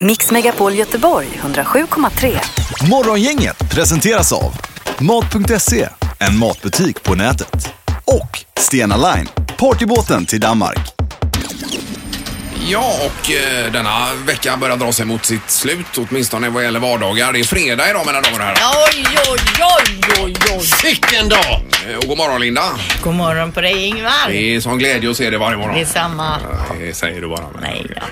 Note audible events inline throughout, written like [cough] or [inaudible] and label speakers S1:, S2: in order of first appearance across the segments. S1: Mix Megapol Göteborg 107,3.
S2: Morgongänget presenteras av Mat.se, en matbutik på nätet. Och Stena Line, partybåten till Danmark.
S3: Ja, och eh, denna vecka börjar dra sig mot sitt slut, åtminstone vad gäller vardagar. Det är fredag idag mina damer och herrar.
S4: Oj, oj, oj, oj, oj.
S5: Vilken dag!
S3: Eh, Och god morgon Linda.
S4: God morgon på dig Ingvar.
S3: Det är sån glädje att se dig varje morgon.
S4: Detsamma.
S3: Nej, säger du bara.
S4: Nej, ja.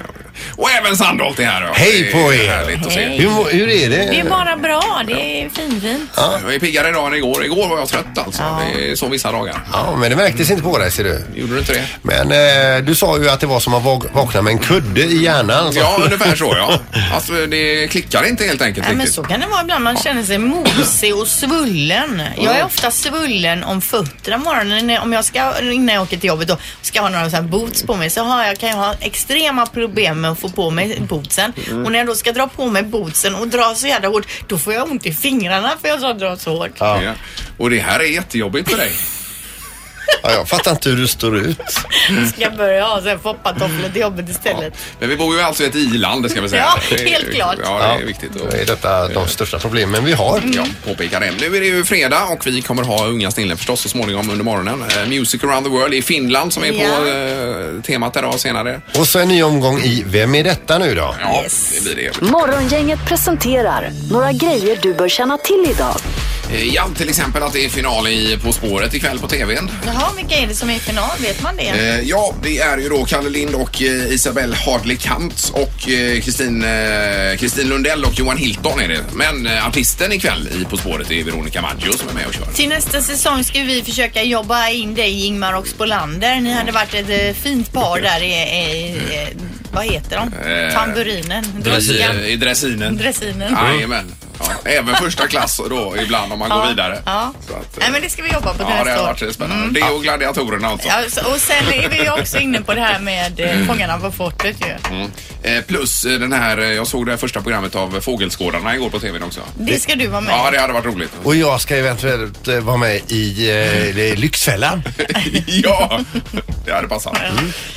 S3: Och även Sandholt är här. ja.
S5: Hej på
S3: Det är
S5: er.
S3: Härligt att se.
S4: Hej.
S5: Hur, mår- hur är det?
S4: Det är bara bra. Det är finfint.
S3: Jag är piggare idag än igår. Igår var jag trött alltså.
S4: Ja.
S3: Det är så vissa dagar.
S5: Ja, men det märktes inte på dig ser du.
S3: Gjorde du inte det?
S5: Men eh, du sa ju att det var som att vak- vakna med en kudde i hjärnan. Så.
S3: Ja, ungefär så ja. Alltså det klickar inte helt enkelt
S4: Nej, men
S3: riktigt.
S4: så kan det vara ibland. Man känner sig mosig och svullen. Jag är ofta svullen om fötterna på morgonen. När- Om jag ska, innan jag åker till jobbet och ska ha några så här boots på mig så har jag, kan jag ha extrema problem med att få på mig bootsen.
S3: Mm.
S4: Och när jag då ska dra på mig bootsen och dra så jävla hårt, då får jag ont i fingrarna för jag har drar så hårt.
S3: Ja. Och det här är jättejobbigt för dig.
S5: Ja, jag fattar inte hur du står ut.
S4: Ska jag börja ha så här foppatofflor till jobbet istället?
S3: Men vi bor ju alltså i ett i-land, det ska vi säga.
S4: Ja,
S3: Det är-
S4: helt klart.
S3: Ja, det är viktigt
S5: Då är
S3: att
S5: detta de största problemen vi har.
S3: ja, påpeka det. Nu är det ju fredag och vi kommer ha Unga snillen förstås så småningom under morgonen. Eh, Music around the world i Finland som är på eh, temat idag senare.
S5: Och så en ny omgång i Vem är detta nu då?
S3: Ja,
S4: Yes.
S3: det blir det.
S1: Morgongänget presenterar några grejer du bör känna till idag.
S3: Eh, Ja, till exempel att det är final i På spåret ikväll på tvn.
S4: Jaha, vilka är det som är i final? Vet man det?
S3: Eh, Ja, det är ju då Kalle Lind och eh, Isabelle Hardley Kantz och eh, Kristin eh, Kristin Lundell och Johan Hilton är det. Men eh, artisten ikväll i På spåret är Veronica Maggio som är med och kör.
S4: Till nästa säsong ska vi försöka jobba in dig Ingmar och Spolander. Ni hade varit ett eh, fint par där i, i, i vad heter de?
S3: Eh,
S4: Tamburinen? Druskan?
S3: I dressinen.
S4: Dressinen?
S3: Jajamän. Ja, även första klass då ibland om man går
S4: Ja,
S3: vidare.
S4: Ja.
S3: Så att, eh,
S4: Nej, men det ska vi jobba på till
S3: ja, det har
S4: nästa år. Mm.
S3: varit spännande. Det och gladiatorerna alltså.
S4: Ja, så- och sen är vi ju också inne på det här med eh, Fångarna på fortet ju.
S3: Mm. Eh, Plus eh, den här, eh, jag såg det här första programmet av Fågelskådarna igår på tvn också.
S4: Det ska du vara med
S3: Ja, det hade varit roligt.
S5: Och jag ska eventuellt eh, vara med i
S3: [laughs]
S5: eh, Lyxfällan.
S3: [laughs] ja, det hade passat.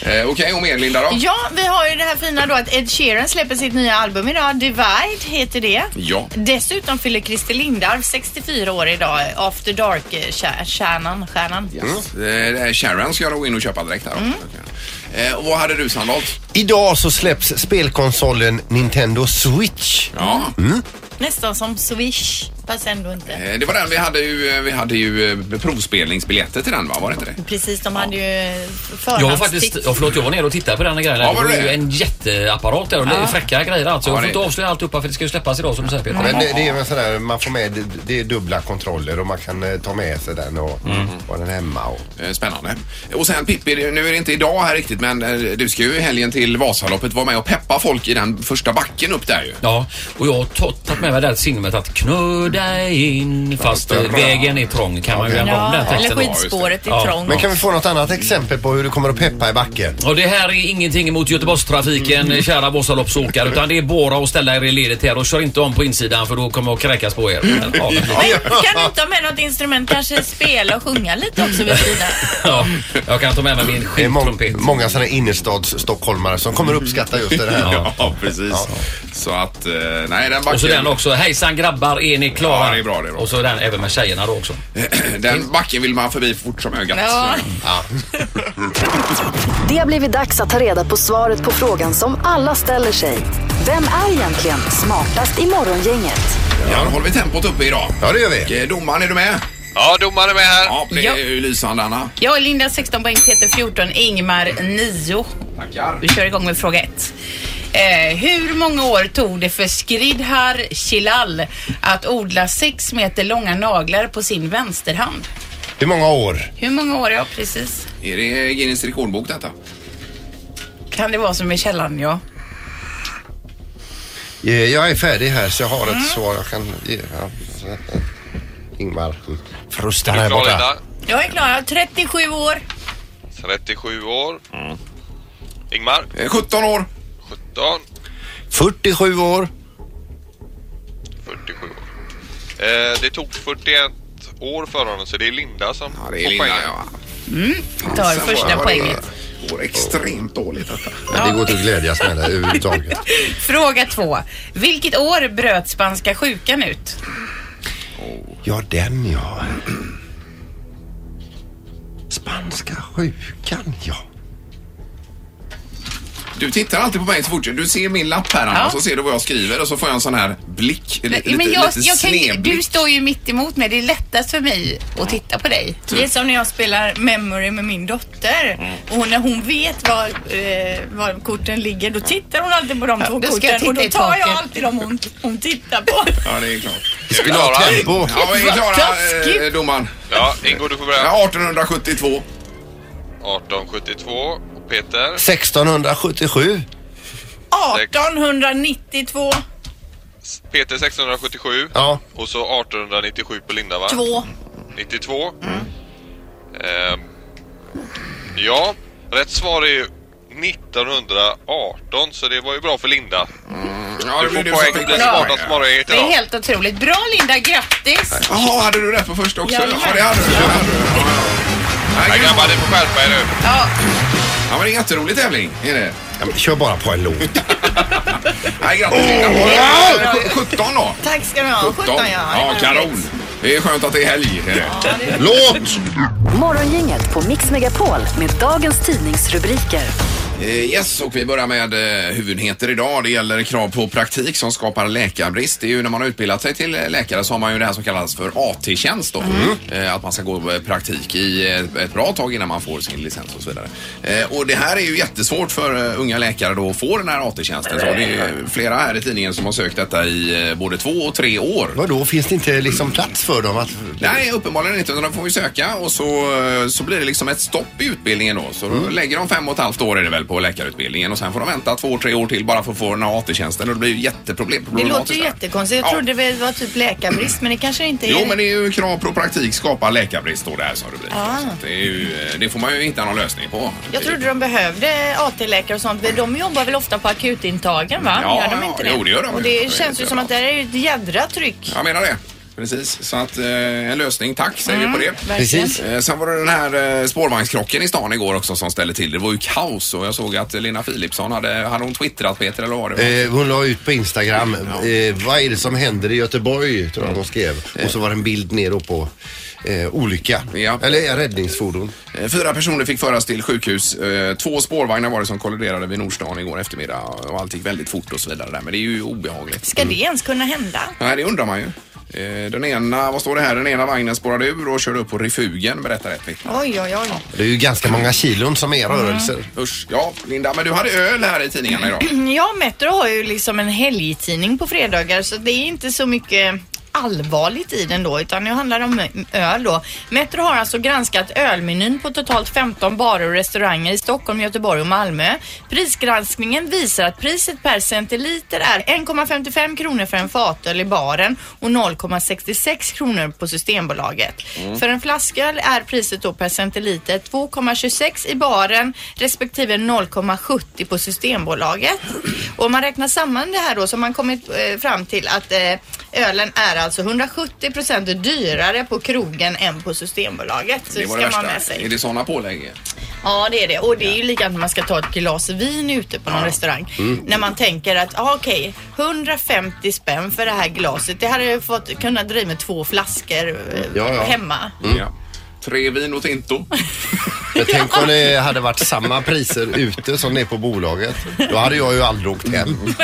S3: Eh, Okej, och mer Linda då?
S4: Mm. Ja, vi har ju det här fina då att Ed Sheeran släpper sitt nya album idag. Divide heter det.
S3: Ja.
S4: Dessutom fyller Christer Lindarw 64 år idag. After Dark-stjärnan. Stjärnan.
S3: Eh, Sharon ska jag då gå in och köpa direkt
S4: Mm.
S3: här. Eh, och vad hade du Sandholt?
S5: Idag så släpps spelkonsolen Nintendo Switch.
S3: Ja,
S4: Mm. Nästan som Swish, fast ändå inte.
S3: eh, det var den vi hade ju, eh, vi hade ju eh, provspelningsbiljetter till den va? Var det inte det?
S4: Precis, de hade ju
S6: Jag var faktiskt, ja,
S4: förhandstips.
S6: förlåt, jag var nere och tittade på den här grejen.
S3: Ja,
S6: Ja,
S3: var
S6: det var
S3: det
S6: ju
S3: det?
S6: en jätteapparat där och det är fräcka grejer alltså.
S3: Ja,
S6: Jag får
S3: det- Mm.
S6: inte avslöja alltihopa för det ska ju släppas idag som du säger Peter.
S5: Men det, det är väl sån där, man får med, det- det är dubbla kontroller och man kan eh, ta med sig den och ha den hemma. Och,
S3: Eh, Spännande. Och sen Pippi, det- nu är det inte idag här riktigt men eh, du ska ju i helgen till Vasaloppet vara med och peppa folk i den första backen upp där ju.
S6: Ja, och jag har ta- tagit med mig det här signumet att knö dig in fast eh, vägen är trång kan man ju ändå om
S4: Ja,
S6: den
S4: eller
S6: texten.
S3: skit.
S4: skidspåret i
S6: Ja.
S4: trång.
S5: Men kan vi få något annat exempel på hur du kommer att peppa i backen?
S6: Och det här är ingenting emot Göteborgstrafiken,
S3: Mm.
S6: kära Vasaloppsåkare, utan det är bara att ställa er i ledet här och kör inte om på insidan för då kommer jag att kräkas på er.
S3: Mm.
S6: Ja,
S4: Men kan du inte ha med något instrument? Kanske spela och sjunga lite också vid sidan?
S6: ja, jag kan ta med mig min
S5: Det är må
S6: skintrumpet.
S5: många sådana innerstadsstockholmare som kommer uppskatta just det [laughs] här.
S6: Ja.
S3: Ja, [laughs] precis. Så att, eh, nej den backen.
S6: Och så den också. Hejsan grabbar, är ni klara?
S3: Ja, det är bra, det är bra.
S6: Och så den även med tjejerna då också.
S3: Den backen vill man förbi fort som ögat.
S4: Ja.
S1: Det har blivit dags att ta reda på svaret på frågan som alla ställer sig. Vem är egentligen smartast i morgongänget?
S3: Ja, då håller vi tempot uppe idag.
S5: Ja, det gör vi.
S3: Eh, Domaren, är du med?
S7: Ja, domaren är med här.
S3: Ja, det
S4: Ja.
S3: är ju lysande Anna.
S4: Jag är Linda 16 poäng, Peter 14, Ingmar 9.
S3: Tackar.
S4: Vi kör igång med fråga ett. Eh, hur många år tog det för Skridhar Chilal att odla sex meter långa naglar på sin vänsterhand?
S5: Hur många år?
S4: Hur många år? Ja, precis.
S3: Är det Guinness rekordbok detta?
S4: Kan det vara som i källan, ja.
S5: Eh, Jag är färdig här så jag har ett svar jag kan ge. Ja. eh, Ingmar. Frustan här
S7: Klar
S5: borta.
S7: Linda.
S4: Jag är klar. Jag har 37 år.
S7: 37 år. Ingmar,
S3: Eh, 17 år.
S7: 17.
S5: 47 år.
S7: 47 år. Eh, det tog 41 år för honom, så det är Linda som
S3: Ja, det är Linda, ja.
S4: Tar
S3: Sen
S4: första
S3: var det-
S4: poänget.
S3: går extremt dåligt detta.
S5: Men det går inte att glädjas [laughs] med det överhuvudtaget.
S8: Fråga två. Vilket år bröt spanska sjukan ut?
S5: Ja, den ja. Spanska sjukan ja.
S3: Du tittar alltid på mig så fort du ser min lapp här Anna,
S8: Ja.
S3: så ser du vad jag skriver och så får jag en sån här blick, li- lite,
S8: Men jag,
S3: lite
S8: jag kan, ju-
S3: snedblick.
S8: du står ju mitt emot mig. Det är lättast för mig att titta på dig.
S4: Det är som när jag spelar Memory med min dotter.
S3: Mm.
S4: Och när hon vet var, eh, var korten ligger, då tittar hon alltid på de
S8: Ja,
S4: två
S8: då ska jag
S4: korten. Och
S8: titta
S4: då tar
S8: i
S4: jag
S8: taket.
S4: alltid de hon, hon tittar på.
S3: Ja, det är klart.
S5: Vi skulle
S7: klara?
S5: ha tempo.
S3: Ja, vi är klara, eh,
S4: taskigt.
S3: domaren.
S7: Ja, Ingo du får börja.
S3: Ja, 1872.
S7: 1872. Peter.
S5: 1677.
S4: 1892,
S7: Peter 677.
S5: Ja.
S7: Och så 1897 på Linda va?
S4: 2.
S7: 92. Ehm, ja, rätt svar är ju 1918 så det var ju bra för Linda.
S3: Ja,
S7: Du
S3: det
S7: får
S3: blir du som
S7: poäng
S3: fick
S7: för smartast
S3: poäng.
S7: morgonhet
S8: Det är
S7: idag.
S8: helt otroligt. Bra Linda, grattis!
S3: Jaha, hade du rätt på första också? Ja,
S4: Jajamän.
S3: det hade du. Det hade du. Ja, ja.
S7: Ja,
S3: Nej,
S7: grabbar,
S3: grabbar.
S7: ni får skärpa er nu.
S8: Ja,
S3: Ja, men det är en jätterolig tävling. Är det?
S5: Ja, men Kör bara på en låt.
S3: Nej, grattis Linda. Sj- 17 då.
S4: Tack ska ni ha. 17 ja.
S3: Ja, kanon. Det är skönt att det är helg. Är det?
S5: Låt!
S1: Morgongänget på Mix Megapol med dagens tidningsrubriker.
S3: Eh, Yes, och vi börjar med eh, huvudnyheter idag. Det gäller krav på praktik som skapar läkarbrist. Det är ju när man har utbildat sig till eh, läkare så har man ju det här som kallas för AT-tjänst då. Eh, Att man ska gå eh, praktik i eh, ett bra tag innan man får sin licens och så vidare. Eh, Och det här är ju jättesvårt för eh, unga läkare då att få den här AT-tjänsten. Så det är eh, flera här i tidningen som har sökt detta i eh, både två och tre år.
S5: Vadå, finns det inte liksom plats för dem att...
S3: Nej, uppenbarligen inte. Utan de får ju söka och så, eh, så blir det liksom ett stopp i utbildningen då. Så då lägger de fem och ett halvt år är det väl på läkarutbildningen och sen får de vänta två, tre år till bara för att få den här AT-tjänsten och det blir ju jätteproblem.
S4: Det låter ju
S3: problematiskt där.
S4: jättekonstigt. Jag
S3: Ja.
S4: trodde det var typ läkarbrist, men det kanske det inte är.
S3: Jo, men det är ju krav på praktik skapar läkarbrist står det här som rubrik. Så att Det, är ju, eh, det får man ju hitta någon lösning på.
S4: Jag trodde de behövde AT-läkare och sånt. men De jobbar väl ofta på akutintagen va?
S3: Ja,
S4: gör de
S3: ja,
S4: inte
S3: jo, det gör de
S4: Och
S3: ju.
S4: det
S3: Det vet
S4: känns ju
S3: jag
S4: som
S3: då.
S4: att det här är ju ett jädra tryck.
S3: Jag menar det. Precis, så att eh, en lösning. Tack säger
S4: Mm.
S3: vi på det.
S4: Verkligen.
S5: Precis.
S3: Eh, Sen var det den här eh, spårvagnskrocken i stan igår också som ställde till det. Det var ju kaos och jag såg att Lena Philipsson hade, hade hon twittrat Peter eller vad var det var?
S5: Eh, hon la ut på Instagram, eh, vad är det som händer i Göteborg? Tror jag hon skrev. Och så var det en bild ner då på eh, olycka.
S3: Ja.
S5: Eller räddningsfordon.
S3: Eh, Fyra personer fick föras till sjukhus. Eh, Två spårvagnar var det som kolliderade vid Nordstan igår eftermiddag och allt gick väldigt fort och så vidare där. Men det är ju obehagligt.
S4: Ska det ens kunna hända?
S3: Nej, det undrar man ju. Eh, Den ena, vad står det här? Den ena vagnen spårade ur och körde upp på refugen, berättar ett vittne.
S4: Oj, oj, oj.
S5: Det är ju ganska många kilon som är rörelser.
S3: Usch. Ja, Linda, men du hade öl här i tidningarna idag.
S4: [clears throat] Ja, Metro har ju liksom en helgtidning på fredagar så det är inte så mycket allvarligt i den då utan nu handlar det om öl då. Metro har alltså granskat ölmenyn på totalt 15 barer och restauranger i Stockholm, Göteborg och Malmö. Prisgranskningen visar att priset per centiliter är 1,55 kronor för en fatöl i baren och 0,66 kronor på Systembolaget.
S3: Mm.
S4: För en flasköl är priset då per centiliter 2,26 i baren respektive 0,70 på Systembolaget. Och om man räknar samman det här då så har man kommit eh, fram till att eh, ölen är alltså 170 procent dyrare på krogen än på Systembolaget. [laughs] Så det
S3: var
S4: ska
S3: det
S4: man med sig.
S3: Är det sådana pålägg?
S4: Ja, det är det. Och det är ju likadant när man ska ta ett glas vin ute på någon restaurang.
S5: Mm.
S4: När man tänker att, ah, okej, 150 spänn för det här glaset. Det hade jag fått kunna dra i med två flaskor eh,
S5: Ja, ja.
S4: hemma.
S3: Ja. Tre vin och tinto.
S5: Men tänk om det hade varit samma priser ute som det är på bolaget. Då hade jag ju aldrig åkt hem.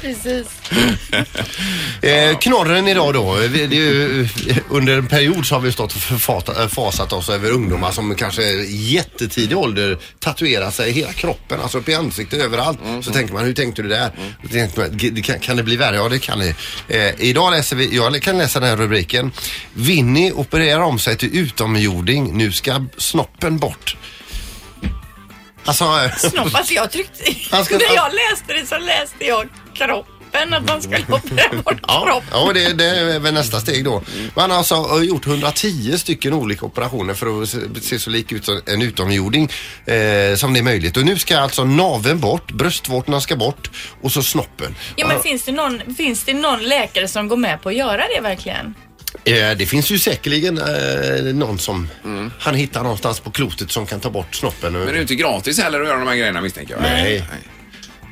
S4: Precis.
S5: Eh, knorren idag då. Eh, Vi, det är ju, eh, under en period så har vi stått och förfata- eh, fasat oss över ungdomar som kanske i jättetidig ålder tatuerar sig i hela kroppen, alltså upp i ansiktet överallt. Så tänker man, hur tänkte du där? Då tänkte man, "G- det kan, kan det bli värre? Ja, det kan det. Eh, idag läser vi, jag kan läsa den här rubriken. Vinny opererar om sig till utomjording. Nu ska snoppen bort. Alltså, eh,
S4: Snopp, alltså jag tryckte...
S5: Han ska-
S4: när jag läste det så läste jag kroppen, att man skulle operera
S5: [laughs]
S4: bort
S5: Mm. Ja,
S4: kroppen.
S5: ja det, det är väl nästa steg då. Man har alltså gjort 110 stycken olika operationer för att se- se så lik ut som en utomjording eh, som det är möjligt. Och nu ska alltså naveln bort, bröstvårtorna ska bort och så snoppen.
S4: Ja, men finns det, någon, finns det någon läkare som går med på att göra det verkligen?
S5: Eh, Det finns ju säkerligen eh, någon som han hittar någonstans på klotet som kan ta bort snoppen.
S3: Mm. Men det är ju inte gratis heller att göra de här grejerna misstänker jag.
S5: Nej.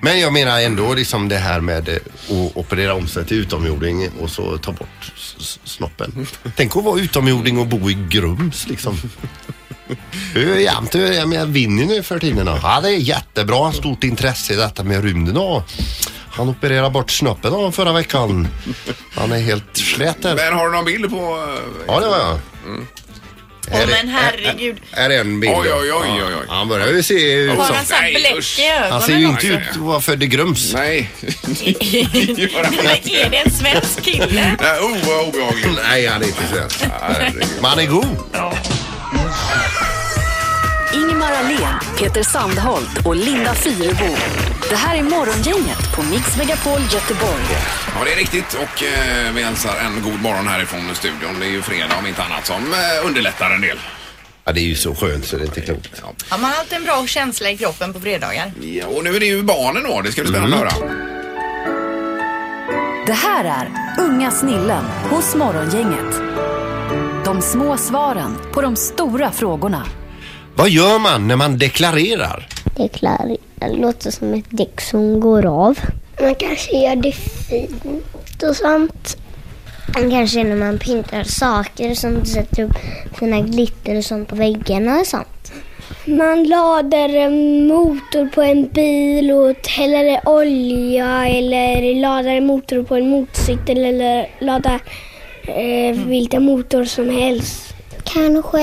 S5: Men jag menar ändå liksom det här med eh, att operera om sig till utomjording och så ta bort s- s- snoppen. Tänk att vara utomjording och bo i Grums liksom. Hur är jämt hur är med Vinny nu för tiden? då? Han är jättebra, han har stort intresse i detta med rymden och han opererade bort snoppen av förra veckan. Han är helt slät där.
S3: Men har du någon bild på... eh,
S5: Ja, det var jag.
S4: Mm. Åh,
S5: Är det-
S4: men herregud.
S5: Här är en bild.
S3: Oj,
S5: ja.
S3: oj, oj, oj, oj.
S5: Ja, Han börjar ju se ut
S4: Har
S5: som...
S4: han så här
S3: Nej,
S4: bläck
S3: usch.
S4: i ögonen
S5: Han ser ju inte
S4: också?
S5: ut att vara född i Grums.
S3: Nej. [laughs] Göra på
S4: Men är det en svensk kille?
S3: Nej, oh vad obehagligt.
S5: Nej, han är inte svensk.
S3: Herregud.
S5: Men han är god.
S1: Ingmar Ahlén, Peter Sandholt och Linda Fyrebo. Det här är Morgongänget på Mix Megapol Göteborg.
S3: Ja, det är riktigt och eh, vi hälsar en god morgon härifrån studion. Det är ju fredag om inte annat som eh, underlättar en del.
S5: Ja, det är ju så skönt så det är inte klokt.
S3: Ja.
S4: Har man alltid en bra känsla i kroppen på fredagar?
S3: Ja, och nu är det ju barnen då. Det ska bli spännande
S5: Mm.
S3: att höra.
S1: Det här är Unga snillen hos Morgongänget. De små svaren på de stora frågorna.
S5: Vad gör man när man deklarerar?
S9: Deklarera låter som ett däck som går av. Man kanske gör det fint och sånt. Man kanske när man pyntar saker och sånt, sätter upp fina glitter och sånt på väggarna och sånt. Man laddar en motor på en bil och häller i olja eller laddar en motor på en motorcykel eller laddar eh, vilken motor som helst. Kanske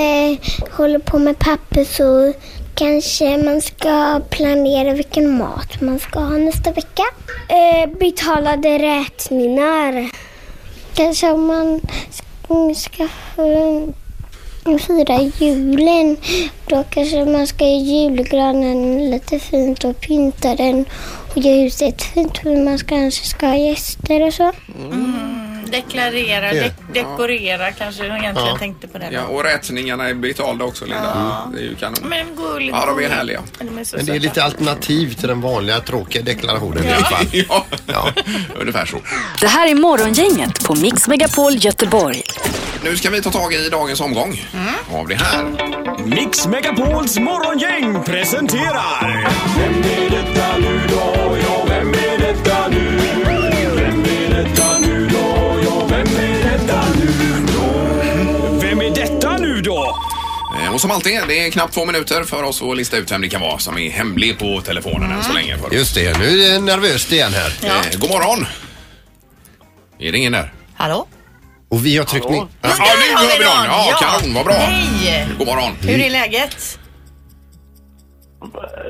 S9: håller på med papper så kanske man ska planera vilken mat man ska ha nästa vecka. Eh, betalade räkningar. Kanske om man sk- ska eh, fira julen. Då kanske man ska ge julgranen lite fint och pynta den och ge huset fint. För man kanske ska ha gäster och så.
S4: Deklarera,
S5: Ja.
S4: de dekorera kanske jag egentligen tänkte på det.
S3: Ja, och rättningarna är betalda också Linda. Det är ju kanon.
S4: Men gulligt.
S3: Ja, de är härliga. [laughs]
S4: De är så
S5: Men det är
S4: söta.
S5: lite alternativ till den vanliga tråkiga deklarationen i alla fall.
S3: Ja, [laughs] ungefär så.
S1: Det här är Morgongänget på Mix Megapol Göteborg.
S3: Nu ska vi ta tag i dagens omgång
S5: Mm.
S3: av det här.
S10: Mix Megapols morgongäng presenterar... Vem är detta nu då? Ja, vem är detta nu? Vem är detta nu då? Ja, vem är detta nu då? Vem är detta nu då?
S3: Eh, Och som alltid, det är knappt två minuter för oss att lista ut vem det kan vara som är hemlig på telefonen än så länge. För oss.
S5: Just det, nu är jag nervöst igen här.
S3: Eh, god morgon! Är det ingen där?
S4: Hallå?
S5: Och vi har tryckt ner...
S3: Ja, nu hör vi någon! Ja, kanon, vad bra!
S4: Hej!
S3: God morgon!
S4: Hur är läget?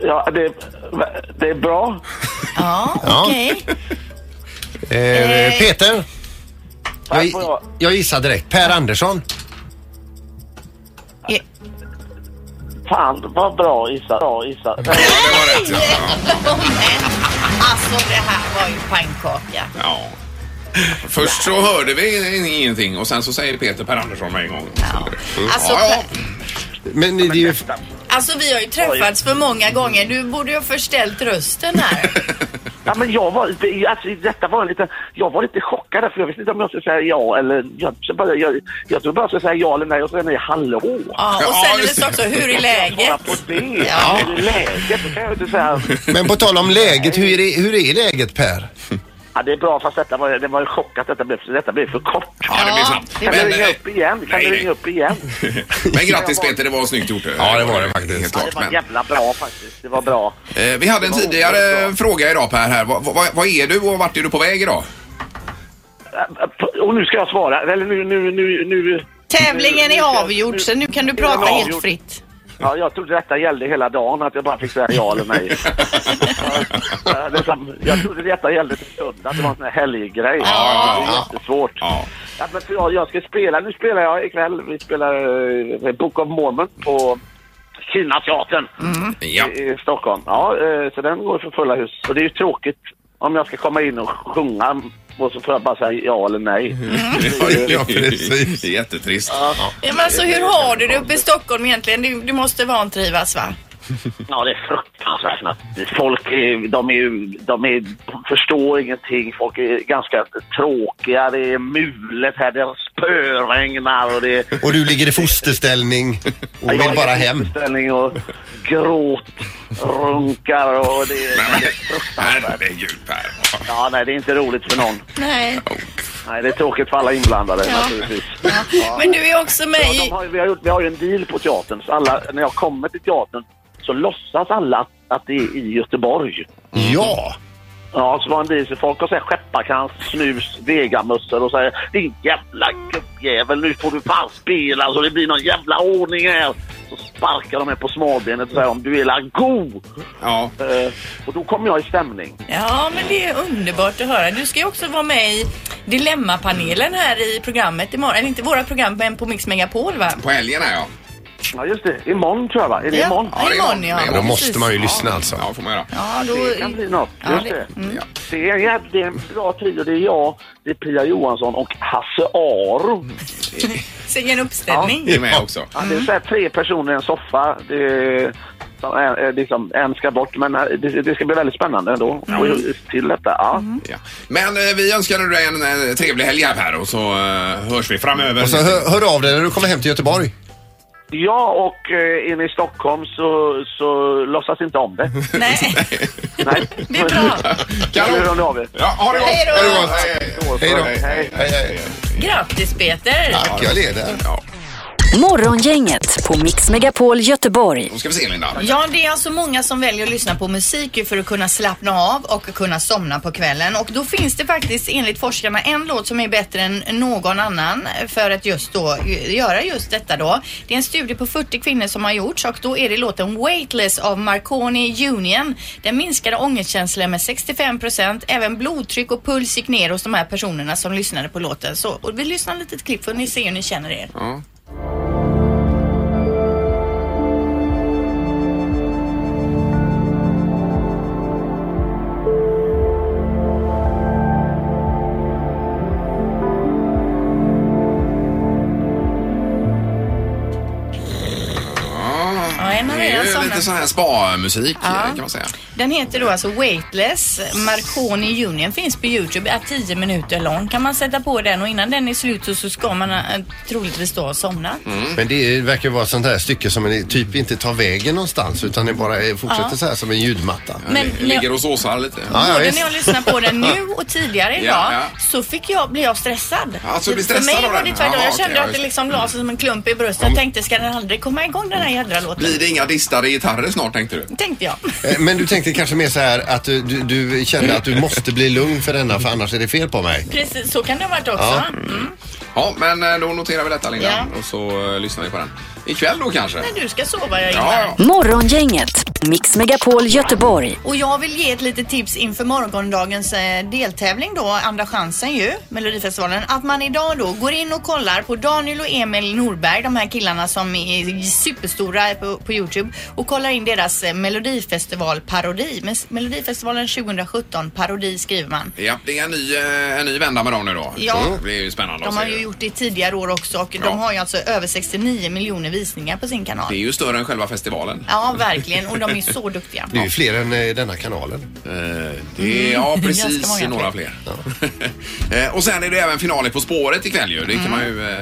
S11: Ja, det, det är bra.
S4: Ja,
S5: Ja.
S4: okej.
S5: Eh, Peter? Jag,
S11: får jag-
S5: jag gissar direkt. Per Andersson?
S4: Ja.
S11: Fan, vad bra gissat. Bra gissat.
S3: Det var rätt, ja.
S4: Alltså det här var ju pannkaka.
S3: ja. Först så hörde vi ingenting och sen så säger Peter Per Andersson med en gång.
S4: Ja. Alltså,
S3: Ja, ja.
S5: Men det är ju...
S4: alltså vi har ju träffats för många gånger. Du borde ju ha förställt rösten här.
S11: Ja, men jag var, det, alltså, detta var en liten, jag var lite chockad där, för jag visste inte om jag skulle säga ja eller... Jag, jag, bara- jag, jag trodde bara jag skulle säga ja eller nej och så nej, hallå!
S4: Ja, och
S3: [laughs] Ja,
S4: sen är det
S3: just
S4: så också, hur är läget?
S11: Bara på det!
S4: Ja.
S11: Är det läget? Då kan jag inte säga...
S5: Men på tal om läget, hur är, det, hur är läget Per?
S11: Ja, det är bra, fast detta var, det var en chock att detta blev, detta blev för kort.
S3: Ja, det blir snabbt.
S11: Kan du
S3: Men,
S11: ringa
S3: eh,
S11: upp igen? Kan
S3: nej,
S11: du
S3: nej.
S11: ringa upp igen?
S3: Men grattis Peter, det var snyggt gjort.
S5: Ja, det var det faktiskt.
S3: Helt
S11: Ja,
S3: klart.
S11: det var
S3: Men,
S11: jävla bra faktiskt. Det var bra.
S3: eh, vi hade en
S11: Det var
S3: tidigare
S11: bra.
S3: fråga idag Per här. Vad, vad, vad är du och vart är du på väg idag?
S11: Och nu ska jag svara. Eller nu, nu, nu, nu.
S4: Tävlingen är avgjord så nu kan du prata
S11: Ja.
S4: helt fritt.
S11: Ja, jag trodde detta gällde hela dagen, att jag bara fick säga ja eller
S3: [laughs]
S11: nej. Ja, det är sam- jag trodde detta gällde till söndag, att det var en sån här helggrej.
S3: ja,
S11: det är
S3: ja.
S11: jättesvårt.
S3: Ja.
S11: Ja, men för jag, jag ska spela, nu spelar jag ikväll, vi spelar eh, Book of Mormon på Kinateatern
S3: Mm. Ja.
S11: i, i Stockholm. Ja, eh, så den går för fulla hus. Och det är ju tråkigt om jag ska komma in och sjunga och så får jag bara säga ja eller nej.
S3: Mm.
S5: Ja, precis.
S3: Det är Jättetrist.
S4: Ja, men alltså hur har du det uppe i Stockholm egentligen? Du, du måste vantrivas va?
S11: Ja, det är fruktansvärt. natt. Folk är, de, är, ju- de är, förstår ingenting. Folk är ganska tråkiga. Det är mulet här. Det är spöregnar och det...
S5: Och du ligger i fosterställning och
S11: Ja, jag
S5: vill bara
S11: är i
S5: hem.
S11: föreställning och gråt, runkar och det är
S3: Herregud Per.
S11: Ja, nej det är inte roligt för någon.
S4: Nej.
S11: Nej, det är tråkigt för alla inblandade
S4: Ja.
S11: naturligtvis.
S4: Men du är också med
S11: Ja, de
S4: i...
S11: har, ju- vi, har, gjort- vi har ju en deal på teatern, så alla, när jag kommer till teatern så låtsas alla att, att det är i Göteborg.
S5: Ja!
S11: Ja, så var en deal, så folk har så här skepparkrans, snus, vegamössor och säger din jävla gubbjävel, nu får du fan spela så det blir någon jävla ordning här. Så sparkar de mig på smalbenet och säger om du är la god. Eh,
S3: Ja.
S11: och då kommer jag i stämning.
S4: Ja, men det är underbart att höra. Du ska ju också vara med i Dilemmapanelen här i programmet imorgon. Eller inte våra program, men på Mix Megapol va?
S3: På helgen ja.
S11: Ja, just det. Imorgon tror jag va? Är det
S4: Ja,
S11: imorgon?
S4: det är imorgon, ja.
S5: Då måste man ju lyssna alltså.
S3: Ja, får man göra.
S4: Ja, då...
S11: Det kan bli något.
S4: Ja,
S11: Just
S4: det-
S11: det. Det, är, en jäv- det är en bra tid och det är jag, det är Pia Johansson och Hasse Aro.
S4: Säg en uppställning.
S3: Det är med också.
S11: Ja, det är så här tre personer i en soffa. Det är, som är, är liksom, en ska bort, men eh, det, det ska bli väldigt spännande ändå.
S3: Ja.
S11: Och just till detta, ja.
S3: Ja. Men eh, vi önskar dig en eh, trevlig helg här Per och så eh, hörs vi framöver.
S5: Och så hör, hör av dig när du kommer hem till Göteborg.
S11: Ja, och eh, är ni i Stockholm så, så låtsas inte om det.
S4: Nej,
S11: Nej.
S4: det är bra.
S11: [laughs] Kanon! Hör ni av er.
S3: Ja, ha det gott!
S4: Hej då.
S3: Ha det gott. Hej,
S5: Hej då.
S3: hej.
S5: Hej, hej.
S4: Grattis Peter!
S5: Tack, jag leder.
S3: Ja,
S1: Morgongänget på Mix Megapol Göteborg.
S3: då ska vi se Linda.
S4: Ja, det är alltså många som väljer att lyssna på musik ju för att kunna slappna av och kunna somna på kvällen. Och då finns det faktiskt enligt forskarna en låt som är bättre än någon annan för att just då göra just detta då. Det är en studie på 40 kvinnor som har gjorts och då är det låten Weightless av Marconi Union. Den minskade ångestkänslor med 65 procent. Även blodtryck och puls gick ner hos de här personerna som lyssnade på låten. Så, och vi lyssnar ett litet klipp får ni se hur ni känner er.
S3: Ja.
S4: Ja, en av
S3: Det
S4: er
S3: är ju
S4: somnar.
S3: lite sån här spa-musik eh, kan man säga.
S4: Den heter då alltså Weightless. Marconi Union finns på Youtube. är 10 minuter lång. Kan man sätta på den och innan den är slut så, så ska man eh, troligtvis då ha somnat.
S3: Mm.
S5: Men det verkar vara ett sånt här stycke som en- typ inte tar vägen någonstans utan det bara eh, fortsätter
S4: Ja. Mm.
S5: så här som en ljudmatta.
S4: Men
S3: Det
S4: när-
S3: Ligger och såsar lite.
S5: Ja, ja,
S4: Både
S5: visst.
S4: när jag lyssnar på den nu och tidigare idag
S3: [laughs] Ja, ja.
S4: så fick jag, blev jag stressad.
S3: Ja, så du blir stressad
S4: För mig
S3: av
S4: var det
S3: den?
S4: tvärtom.
S3: Ja,
S4: jag
S3: okej,
S4: kände
S3: ja,
S4: att det
S3: just.
S4: liksom la sig som en klump i bröstet. Jag tänkte, ska den aldrig komma igång den här jädra låten?
S3: Blir det inga distade gitarrer snart tänkte du?
S4: Tänkte jag. [laughs]
S5: Eh, Men du tänkte kanske mer så här att du, du, du kände att du måste bli lugn för denna för annars är det fel på mig.
S4: Precis, så kan det ha varit också.
S5: Ja.
S4: Mm.
S3: Ja, men eh, då noterar vi detta Linda
S4: Ja.
S3: och så eh, lyssnar vi på den. Ikväll då kanske?
S4: Men du ska sova, jag
S3: Ja,
S4: gillar.
S3: ja.
S1: Morgongänget, Mix Megapol Göteborg.
S4: Och jag vill ge ett litet tips inför morgondagens eh, deltävling då, Andra chansen ju, Melodifestivalen. Att man idag då går in och kollar på Daniel och Emil Norberg, de här killarna som är superstora på, på Youtube och kollar in deras eh, Melodifestivalparodi. Men s- Melodifestivalen 2017, parodi skriver man.
S3: Ja, det är en ny, eh, en ny vända med dem nu då.
S4: Ja.
S3: Det blir ju spännande
S4: De
S3: att se.
S4: har ju gjort det tidigare år också och
S3: Ja.
S4: de har ju alltså över 69 miljoner visningar på sin kanal.
S3: Det är ju större än själva festivalen.
S4: Ja, verkligen. Och de är så [laughs] duktiga.
S5: Det är ju fler än eh, denna kanalen.
S3: Eh, Det är, ja,
S4: Mm,
S3: precis.
S4: ganska många
S3: några fler. [laughs] Eh, och sen är det även final i På spåret ikväll ju. Det kan man ju,
S4: Mm.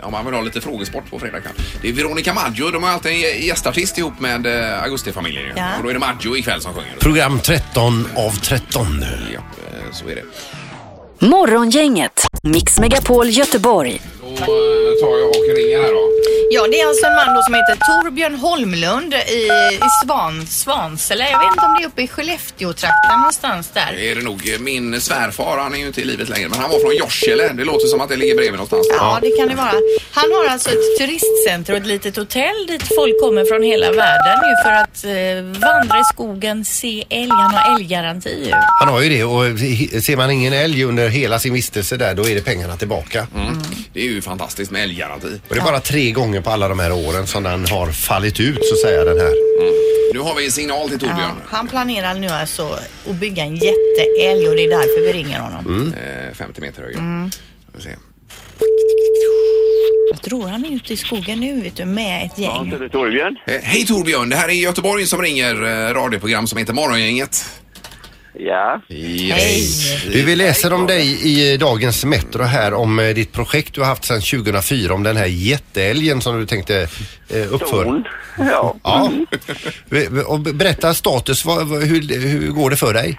S3: eh, om man vill ha lite frågesport på fredag kväll. Det är Veronica Maggio. De har alltid en gä- gästartist ihop med eh, Augustifamiljen ju.
S4: Ja.
S3: Och då är det Maggio ikväll som sjunger.
S5: Program 13 av 13.
S3: Ja, eh, så är det.
S1: Morgongänget, Mix Megapol Göteborg.
S3: Då eh, tar jag och ringer här då.
S4: Ja, det är alltså en man då som heter Torbjörn Holmlund i, i Svan, Svansele. Jag vet inte om det är uppe i Skellefteå-trakten någonstans där.
S3: Det är det nog. eh, Min svärfar, han är ju inte i livet längre, men han var från Jorsele. Det låter som att det ligger bredvid någonstans.
S4: Ja, det kan det vara. Han har alltså ett turistcenter och ett litet hotell dit folk kommer från hela världen ju för att eh, vandra i skogen, se älg. Han har älggaranti ju.
S5: Han har ju det och he- ser man ingen älg under hela sin vistelse där då är det pengarna tillbaka.
S3: Det är ju fantastiskt med älggaranti.
S5: Och det är bara tre gånger på alla de här åren som den har fallit ut så att säga den här.
S3: Nu har vi en signal till
S4: Ja,
S3: Torbjörn.
S4: han planerar nu alltså att bygga en jätteälg och det är därför vi ringer honom.
S11: Mm.
S3: Eh, 50 meter högre.
S4: Mm.
S3: Ska vi se.
S4: Jag tror han är ute i skogen nu vet du, med ett
S11: Ja,
S4: gäng.
S11: så det är Torbjörn.
S3: Eh, Hej Torbjörn, det här är Göteborg som ringer eh, radioprogram som heter Morgongänget.
S12: Ja.
S5: Du, vi läser om dig i dagens Metro här om eh, ditt projekt du har haft sedan 2004 om den här jätteälgen som du tänkte eh, uppföra.
S12: Ja.
S5: ja. Be- be- och be- Berätta status, vad, vad, hur, hur går det för dig?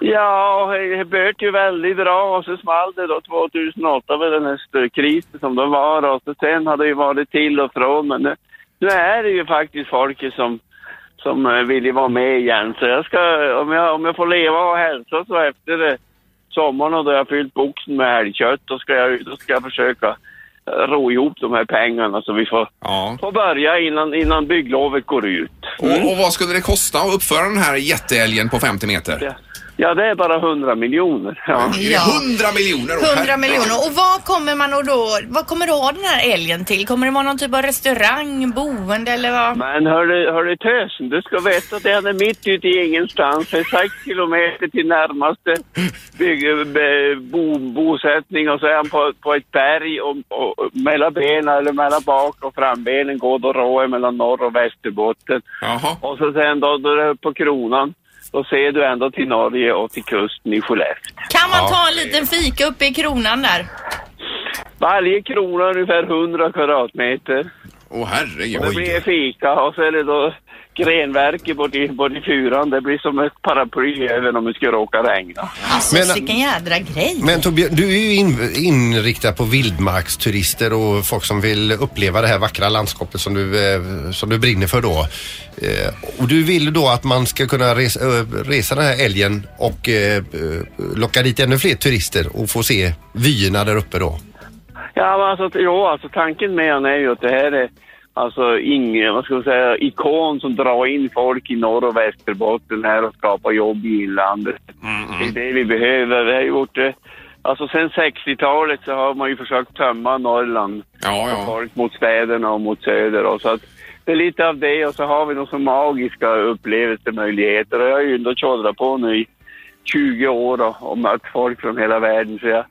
S12: Ja, det började ju väldigt bra och så small det då 2008 med den här krisen som det var och så sen har det ju varit till och från men nu, nu är det ju faktiskt folk som, som eh, vill ju vara med igen så jag ska, om jag, om jag får leva och hälsa så efter eh, sommaren och då jag fyllt boxen med älgkött då ska jag, då ska jag försöka eh, ro ihop de här pengarna så vi får, får börja innan, innan bygglovet går ut.
S3: Och, och vad skulle det kosta att uppföra den här jätteälgen på 50 meter?
S12: Ja, det är bara 100 miljoner. Ja.
S3: Är det 100 miljoner? då?
S4: 100 miljoner. Och vad kommer man att då, vad kommer du ha den här älgen till? Kommer det vara någon typ av restaurang, boende eller vad?
S12: Men hörru, hörru tösen, du ska veta att den är mitt ute i ingenstans. Det är sex kilometer till närmaste bygge, be, bo, bosättning och så är han på, på ett berg och, och, och mellan benen, eller mellan bak och frambenen går då rå mellan norr och västerbotten. Och så sen då, då är det på kronan, då ser du ända till Norge och till kusten i Skellefteå.
S4: Kan man
S12: Ja.
S4: ta en liten fika uppe i kronan där?
S12: Varje krona är ungefär 100 kvadratmeter.
S3: Åh herregud.
S12: Och det blir fika och så är det då grenverket bort i, bort i fyran. Det blir som ett paraply även om det skulle råka regna.
S4: Alltså
S5: Men-
S4: vilken jädra grej.
S5: Men Tobias, du är ju in, inriktad på vildmarksturister och folk som vill uppleva det här vackra landskapet som du, eh, som du brinner för då. Eh, och du vill då att man ska kunna resa, ö, resa den här älgen och eh, eh, locka dit ännu fler turister och få se vyerna där uppe då.
S12: Ja, men alltså, t- jo, alltså tanken med den är ju att det här är alltså ingen, vad ska man säga, ikon som drar in folk i norr och västerbotten här och skapar jobb i inlandet. Det är det vi behöver. Vi har gjort det. Alltså sen 60-talet så har man ju försökt tömma Norrland.
S3: Ja,
S12: ja. Folk mot städerna och mot söder. Och så att det är lite av det och så har vi de så magiska upplevelsemöjligheter. Och jag har ju ändå tjodrat på nu i 20 år och, och mött folk från hela världen. Så jag,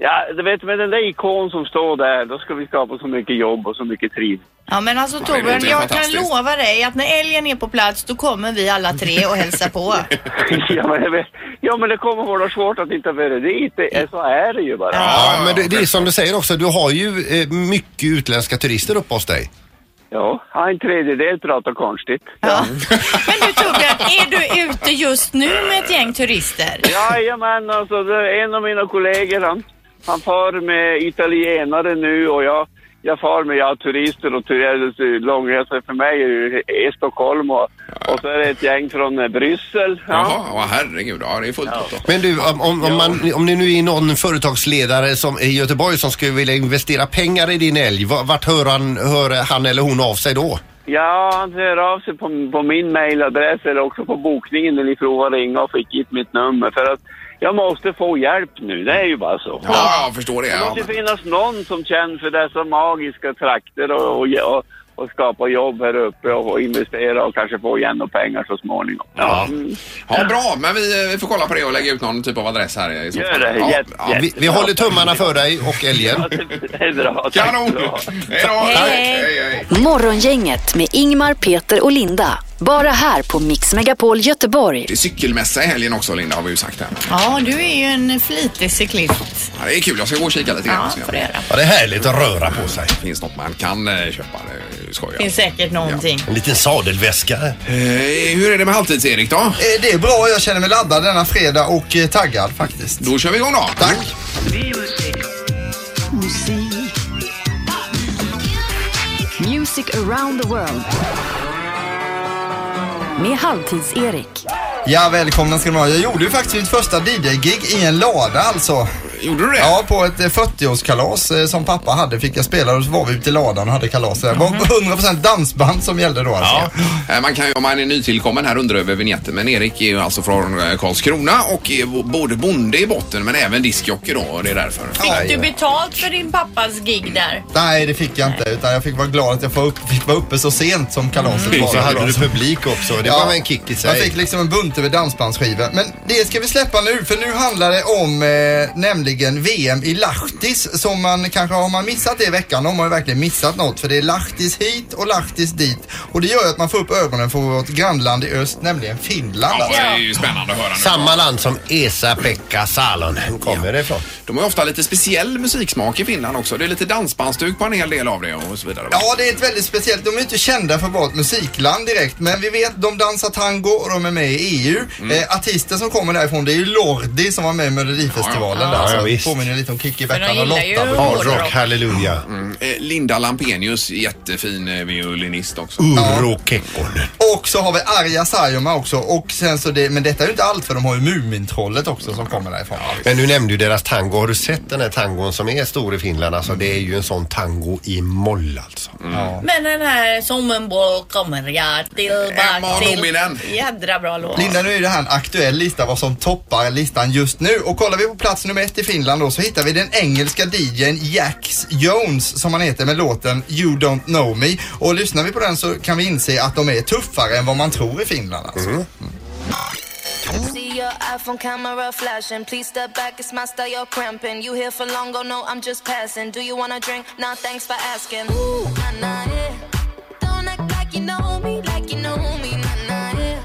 S12: ja, du vet med den där ikon som står där, då ska vi skapa så mycket jobb och så mycket trivsel.
S4: Ja men alltså
S12: det låter
S4: Torbjörn,
S12: ju
S4: jag kan
S12: fantastiskt.
S4: lova dig att när älgen är på plats då kommer vi alla tre och hälsa på.
S12: [laughs] ja, men, jag vet- ja, men det kommer vara svårt att inte vara dit. Det, är- så är det ju bara.
S5: Ja, men det, det är som du säger också, du har ju eh, mycket utländska turister uppe hos dig.
S12: Ja, en tredjedel pratar konstigt.
S4: Men du Torbjörn, är du ute just nu med ett gäng turister?
S12: Jajamän, alltså det är en av mina kollegor han, han far med italienare nu och jag, jag far med ja, turister och turister, långresor för mig är ju är Stockholm och, och så är det ett gäng från eh, Bryssel. Ja.
S3: Jaha, åh, herregud. Ja, det är fullt upp då.
S5: Men du, om, om, om, man, om det nu är någon företagsledare som, i Göteborg som skulle vilja investera pengar i din älg, va- vart hör han, hör han eller hon av sig då?
S12: Ja, han hör av sig på, på min mailadress eller också på bokningen när ni provade ringa och fick hit mitt nummer. För att jag måste få hjälp nu, det är ju bara så.
S3: Ja, jag förstår det.
S12: Det
S3: Ja,
S12: måste finnas någon som känner för dessa magiska trakter och, och, och, och skapa jobb här uppe och, och investera och kanske få igen några pengar så småningom.
S3: Ja.
S12: Mm.
S3: ja bra. Men vi, eh, vi får kolla på det och lägga ut någon typ av adress här. i så
S12: Gör
S3: fall.
S12: det.
S3: Ja,
S12: Jätte-
S3: ja.
S5: Vi, vi håller tummarna för dig och älgen.
S12: [laughs] Det är bra.
S3: Kanon! Hej då!
S1: Morgongänget med Ingmar, Peter och Linda. Bara här på Mix Megapol Göteborg.
S3: Det är cykelmässa i helgen också, Linda, har vi ju sagt här.
S4: Ja, du är ju en flitig cyklist.
S3: Ja, det är kul. Jag ska gå och kika lite grann.
S4: Ja, får det göra.
S5: Ja, det är härligt att röra på sig.
S3: finns något man kan eh, köpa. Det är ju skoj.
S4: Finns säkert någonting.
S5: En liten sadelväska.
S3: hur är det med halvtids-Erik då?
S13: Eh, Det är bra, jag känner mig laddad denna fredag och eh, taggad faktiskt.
S3: Då kör vi igång då.
S13: Tack.
S1: Music around the world. Med Halvtids-Erik.
S13: Ja, välkomna ska ni vara. Jag gjorde ju faktiskt mitt första DJ-gig i en lada alltså.
S3: Gjorde du det?
S13: Ja, på ett eh, 40-årskalas eh, som pappa hade fick jag spela och så var vi ute i ladan och hade kalas. där. Det
S4: Mhm.
S13: var 100% dansband som gällde då alltså.
S3: Eh, Man kan ju, om man är nytillkommen här undra över vignetten. Men Erik är ju alltså från eh, Karlskrona och är bo- både bonde i botten men även diskjockey då. Och det är därför.
S4: Fick du betalt för din pappas gig där?
S13: Nej, det fick jag inte. Utan jag fick vara glad att jag får upp, fick vara uppe så sent som kalaset
S5: Mm.
S13: var.
S5: Så hade du publik också. Det var en kick i sig.
S13: Jag fick liksom en bunt över dansbandsskivor. Men det ska vi släppa nu, för nu handlar det om eh, nämligen nämligen VM i Lahtis som man kanske, har man missat det i veckan, då har man ju verkligen missat något för det är Lahtis hit och Lahtis dit och det gör ju att man får upp ögonen för vårt grannland i öst, nämligen Finland.
S3: Ja, det
S13: alltså.
S3: är ju spännande att höra nu.
S5: Samma land som Esa-Pekka Salonen kommer ifrån.
S3: De har ju ofta lite speciell musiksmak i Finland också. Det är lite dansbandsstuk på en hel del av det och så vidare. va?
S13: Ja, det är ett väldigt speciellt. De är inte kända för att vara ett musikland direkt, men vi vet de dansar tango och de är med i EU.
S5: Mm.
S13: Eh, artister som kommer därifrån, det är ju Lordi som var med i Melodifestivalen
S5: Ja, ja.
S13: där.
S5: Ja,
S13: så
S5: visst.
S13: påminner lite om Kikki,
S5: För de
S13: Beckan och
S5: gillar ju
S13: Lotta.
S5: hårdrock. Rock, halleluja.
S3: Mm. Eh, Linda Lampenius, jättefin eh, violinist också.
S5: Urho Kekkonen.
S13: Och så har vi Arja Saijonmaa också. Och sen så det, men detta är ju inte allt för de har ju Mumintrollet också som kommer därifrån.
S5: Men du nämnde ju deras tango. Har du sett den här tangon som är stor i Finland? Alltså det är ju en sån tango i moll alltså.
S4: Men den här som en boll kommer jag
S5: Eh,
S4: tillbaka
S13: Emma Nominen.
S4: till. Jädra bra låt.
S13: Linda, nu är det här en aktuell lista vad som toppar listan just nu. Och kollar vi på plats nummer ett i Finland då så hittar vi den engelska DJn Jax Jones som han heter med låten You Don't Know Me. Och lyssnar vi på den så kan vi inse att de är tuffare än vad man tror i Finland alltså.
S8: Mm.
S14: See your iPhone camera flashing. Please step back, it's my style, you're cramping. You here for long, oh no, I'm just passing. Do you wanna drink? Nah, thanks for asking. Ooh, nah, nah, yeah. Don't act like you know me, like you know me, nah, nah, yeah.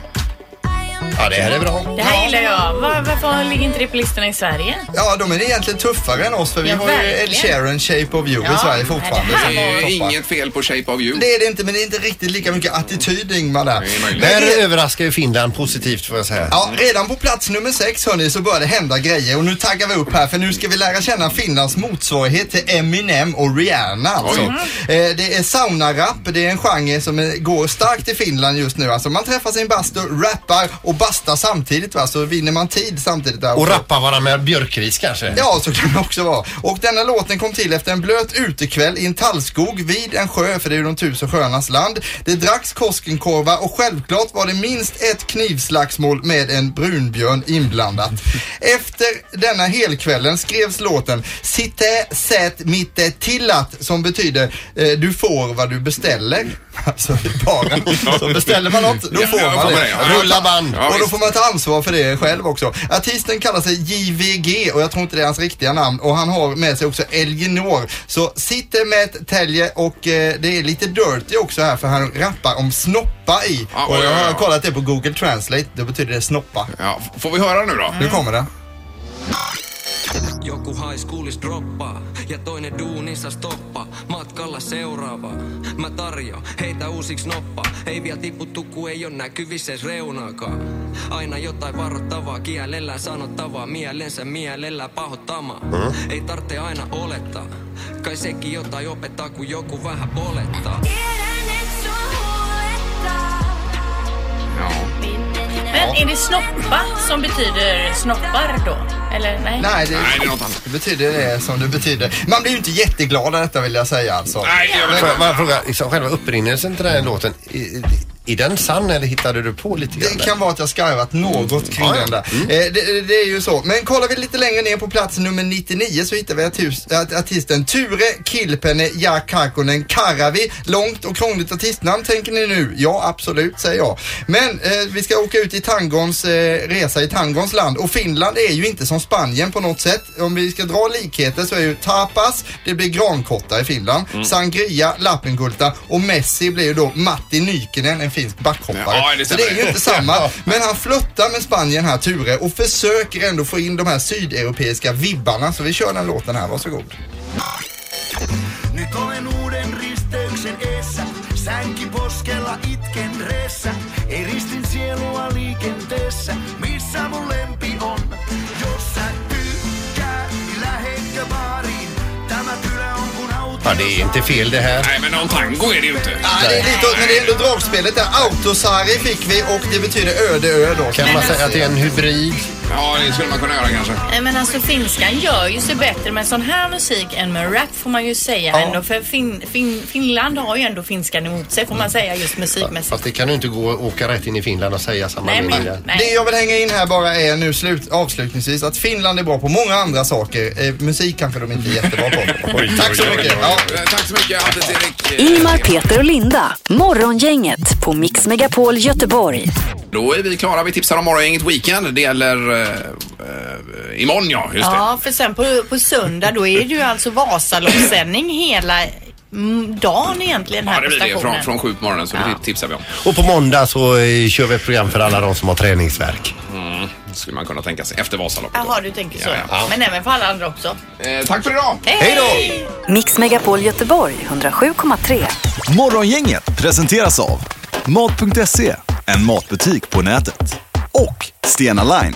S5: Ja, det här är bra.
S8: Det här gillar jag. Var, varför ligger inte det på listorna i Sverige?
S13: Ja, de är egentligen tuffare än oss för vi
S8: Ja,
S13: har ju Ed
S8: verkligen.
S13: Sheeran Shape of You i
S8: Ja,
S13: Sverige fortfarande.
S3: Det
S13: som
S3: är ju
S13: toppar.
S3: inget fel på Shape of You.
S13: Det är det inte, men det är inte riktigt lika mycket attityd Ingmar där.
S5: Där överraskar ju Finland positivt får jag säga.
S13: Ja, redan på plats nummer sex hörni så börjar det hända grejer och nu taggar vi upp här för nu ska vi lära känna Finlands motsvarighet till Eminem och Rihanna alltså.
S15: Oj.
S13: Eh, det är saunarapp, det är en genre som eh, går starkt i Finland just nu alltså. Man träffar sin bastu, rappar och bastar samtidigt va, så vinner man tid samtidigt där
S5: Och
S13: också.
S5: rappa varandra med björkris kanske?
S13: Ja, så kan det också vara. Och denna låten kom till efter en blöt utekväll i en tallskog vid en sjö, för det är ju de tusen sjöarnas land. Det dracks Koskenkorva och självklart var det minst ett knivslagsmål med en brunbjörn
S5: [laughs]
S13: inblandat. Efter denna helkvällen skrevs låten Sitte sät mitte tillat som betyder eh, du får vad du beställer. [laughs] Alltså det är
S5: [laughs]
S13: bara, så beställer man något, då
S5: Ja,
S13: får
S5: jag
S13: man
S5: kommer
S13: det.
S5: det. Rulla band.
S13: Och då
S5: visst.
S13: får man ta ansvar för det själv också. Artisten kallar sig JVG och jag tror inte det är hans riktiga namn och han har med sig också Elginor. Så sitter med ett tälje och eh, det är lite dirty också här för han rappar om snoppa i.
S3: Ja,
S13: och
S3: oj,
S13: jag
S3: oj,
S13: har
S3: oj.
S13: kollat det på Google Translate, då betyder det snoppa.
S3: Ja, får vi höra nu då?
S13: Nu kommer det.
S10: Joku hais kuulis droppaa ja toinen duunissa stoppa. Matkalla seuraava. Mä tarjo, heitä uusiksi noppa. Ei vielä tipu tukku, ei on näkyvissä ees reunaakaan. Aina jotain varoittavaa, kielellä sanottavaa. Mielensä mielellä pahoittamaa.
S5: Äh?
S7: Mm.
S10: Ei tarvitse aina olettaa. Kai sekin jotain opettaa, kun joku vähän polettaa.
S8: Men är det snoppa som betyder snoppar då? Eller nej?
S13: Nej, det, det betyder det som det betyder. Man blir ju inte jätteglad av detta vill jag säga alltså.
S5: Men får jag bara fråga, liksom, själva upprinnelsen till den här låten, i- i- är den sann eller hittade du på lite grann?
S13: Det kan vara att jag skarvat något kring
S5: Ja, ja.
S13: den där.
S5: Mm.
S13: Eh, det, det är ju så. Men kollar vi lite längre ner på plats nummer 99 så hittar vi artus, art- artisten Ture Kilpene Jakakkonen Karavi. Långt och krångligt artistnamn tänker ni nu. Ja, absolut säger jag. Men eh, vi ska åka ut i tangons eh, resa i tangons land och Finland är ju inte som Spanien på något sätt. Om vi ska dra likheter så är ju tapas, det blir grankotta i Finland.
S5: Mm.
S13: Sangria, Lappengulta och Messi blir ju då Matti Nykinen, en finsk backhoppare.
S3: Ja, det
S13: så det är ju
S3: stämmer.
S13: inte samma. Men han flörtar med Spanien här, Ture, och försöker ändå få in de här sydeuropeiska vibbarna. Så vi kör den låten här, varsågod.
S16: Nyt olen uuden risteyksen eessä. Sänki poskella itken reessä. Eristin sielua liikenteessä. Missä mun lempi on? Jos sä tykkää, niin lähetkö baariin? Tämä kylä on kun auto.
S5: Ja, Ah, det är inte fel det här.
S3: Nej, men någon tango är det ju inte.
S13: Ja, det är lite, men det är ändå dragspelet där. Autosari fick vi och det betyder öde ö då.
S5: Kan man säga att det är en hybrid?
S3: Ja, det skulle man kunna göra kanske.
S4: Nej men alltså finskan gör ju sig bättre med sån här musik än med rap får man ju säga ändå. För fin, fin, Finland har ju ändå finskan emot sig får man säga just musikmässigt.
S5: Fast det kan ju inte gå att åka rätt in i Finland och säga samma
S4: Nej, men-
S5: mening där.
S4: nej.
S13: Det jag vill hänga in här bara är nu slut, avslutningsvis att Finland är bra på många andra saker. Eh, musik kanske de inte är jättebra på. Tack så mycket. Ja.
S3: Eh, Tack så mycket, Antti-Erik.
S1: Ingmar, Peter och Linda. Morgongänget på Mix Megapol Göteborg.
S3: Då är vi klara. Vi tipsar om morgongänget Weekend. Det gäller eh, eh, imorgon ja, just det.
S4: Ja, för sen på, på söndag då är det ju alltså Vasaloppssändning hela mm, dagen egentligen här
S3: Ja, det
S4: på
S3: blir det
S4: stationen.
S3: från, från sju på morgonen så det tipsar vi om.
S5: Och på måndag så eh, kör vi ett program för alla de som har träningsvärk.
S3: Mm, skulle man kunna tänka sig efter Vasaloppet.
S4: Jaha, du tänker så.
S3: Ja, ja.
S4: Men även för alla andra också.
S3: Eh, tack för idag!
S4: Hej då!
S1: Mix Megapol Göteborg 107,3.
S2: Morgongänget presenteras av Mat.se, en matbutik på nätet. Och Stena Line,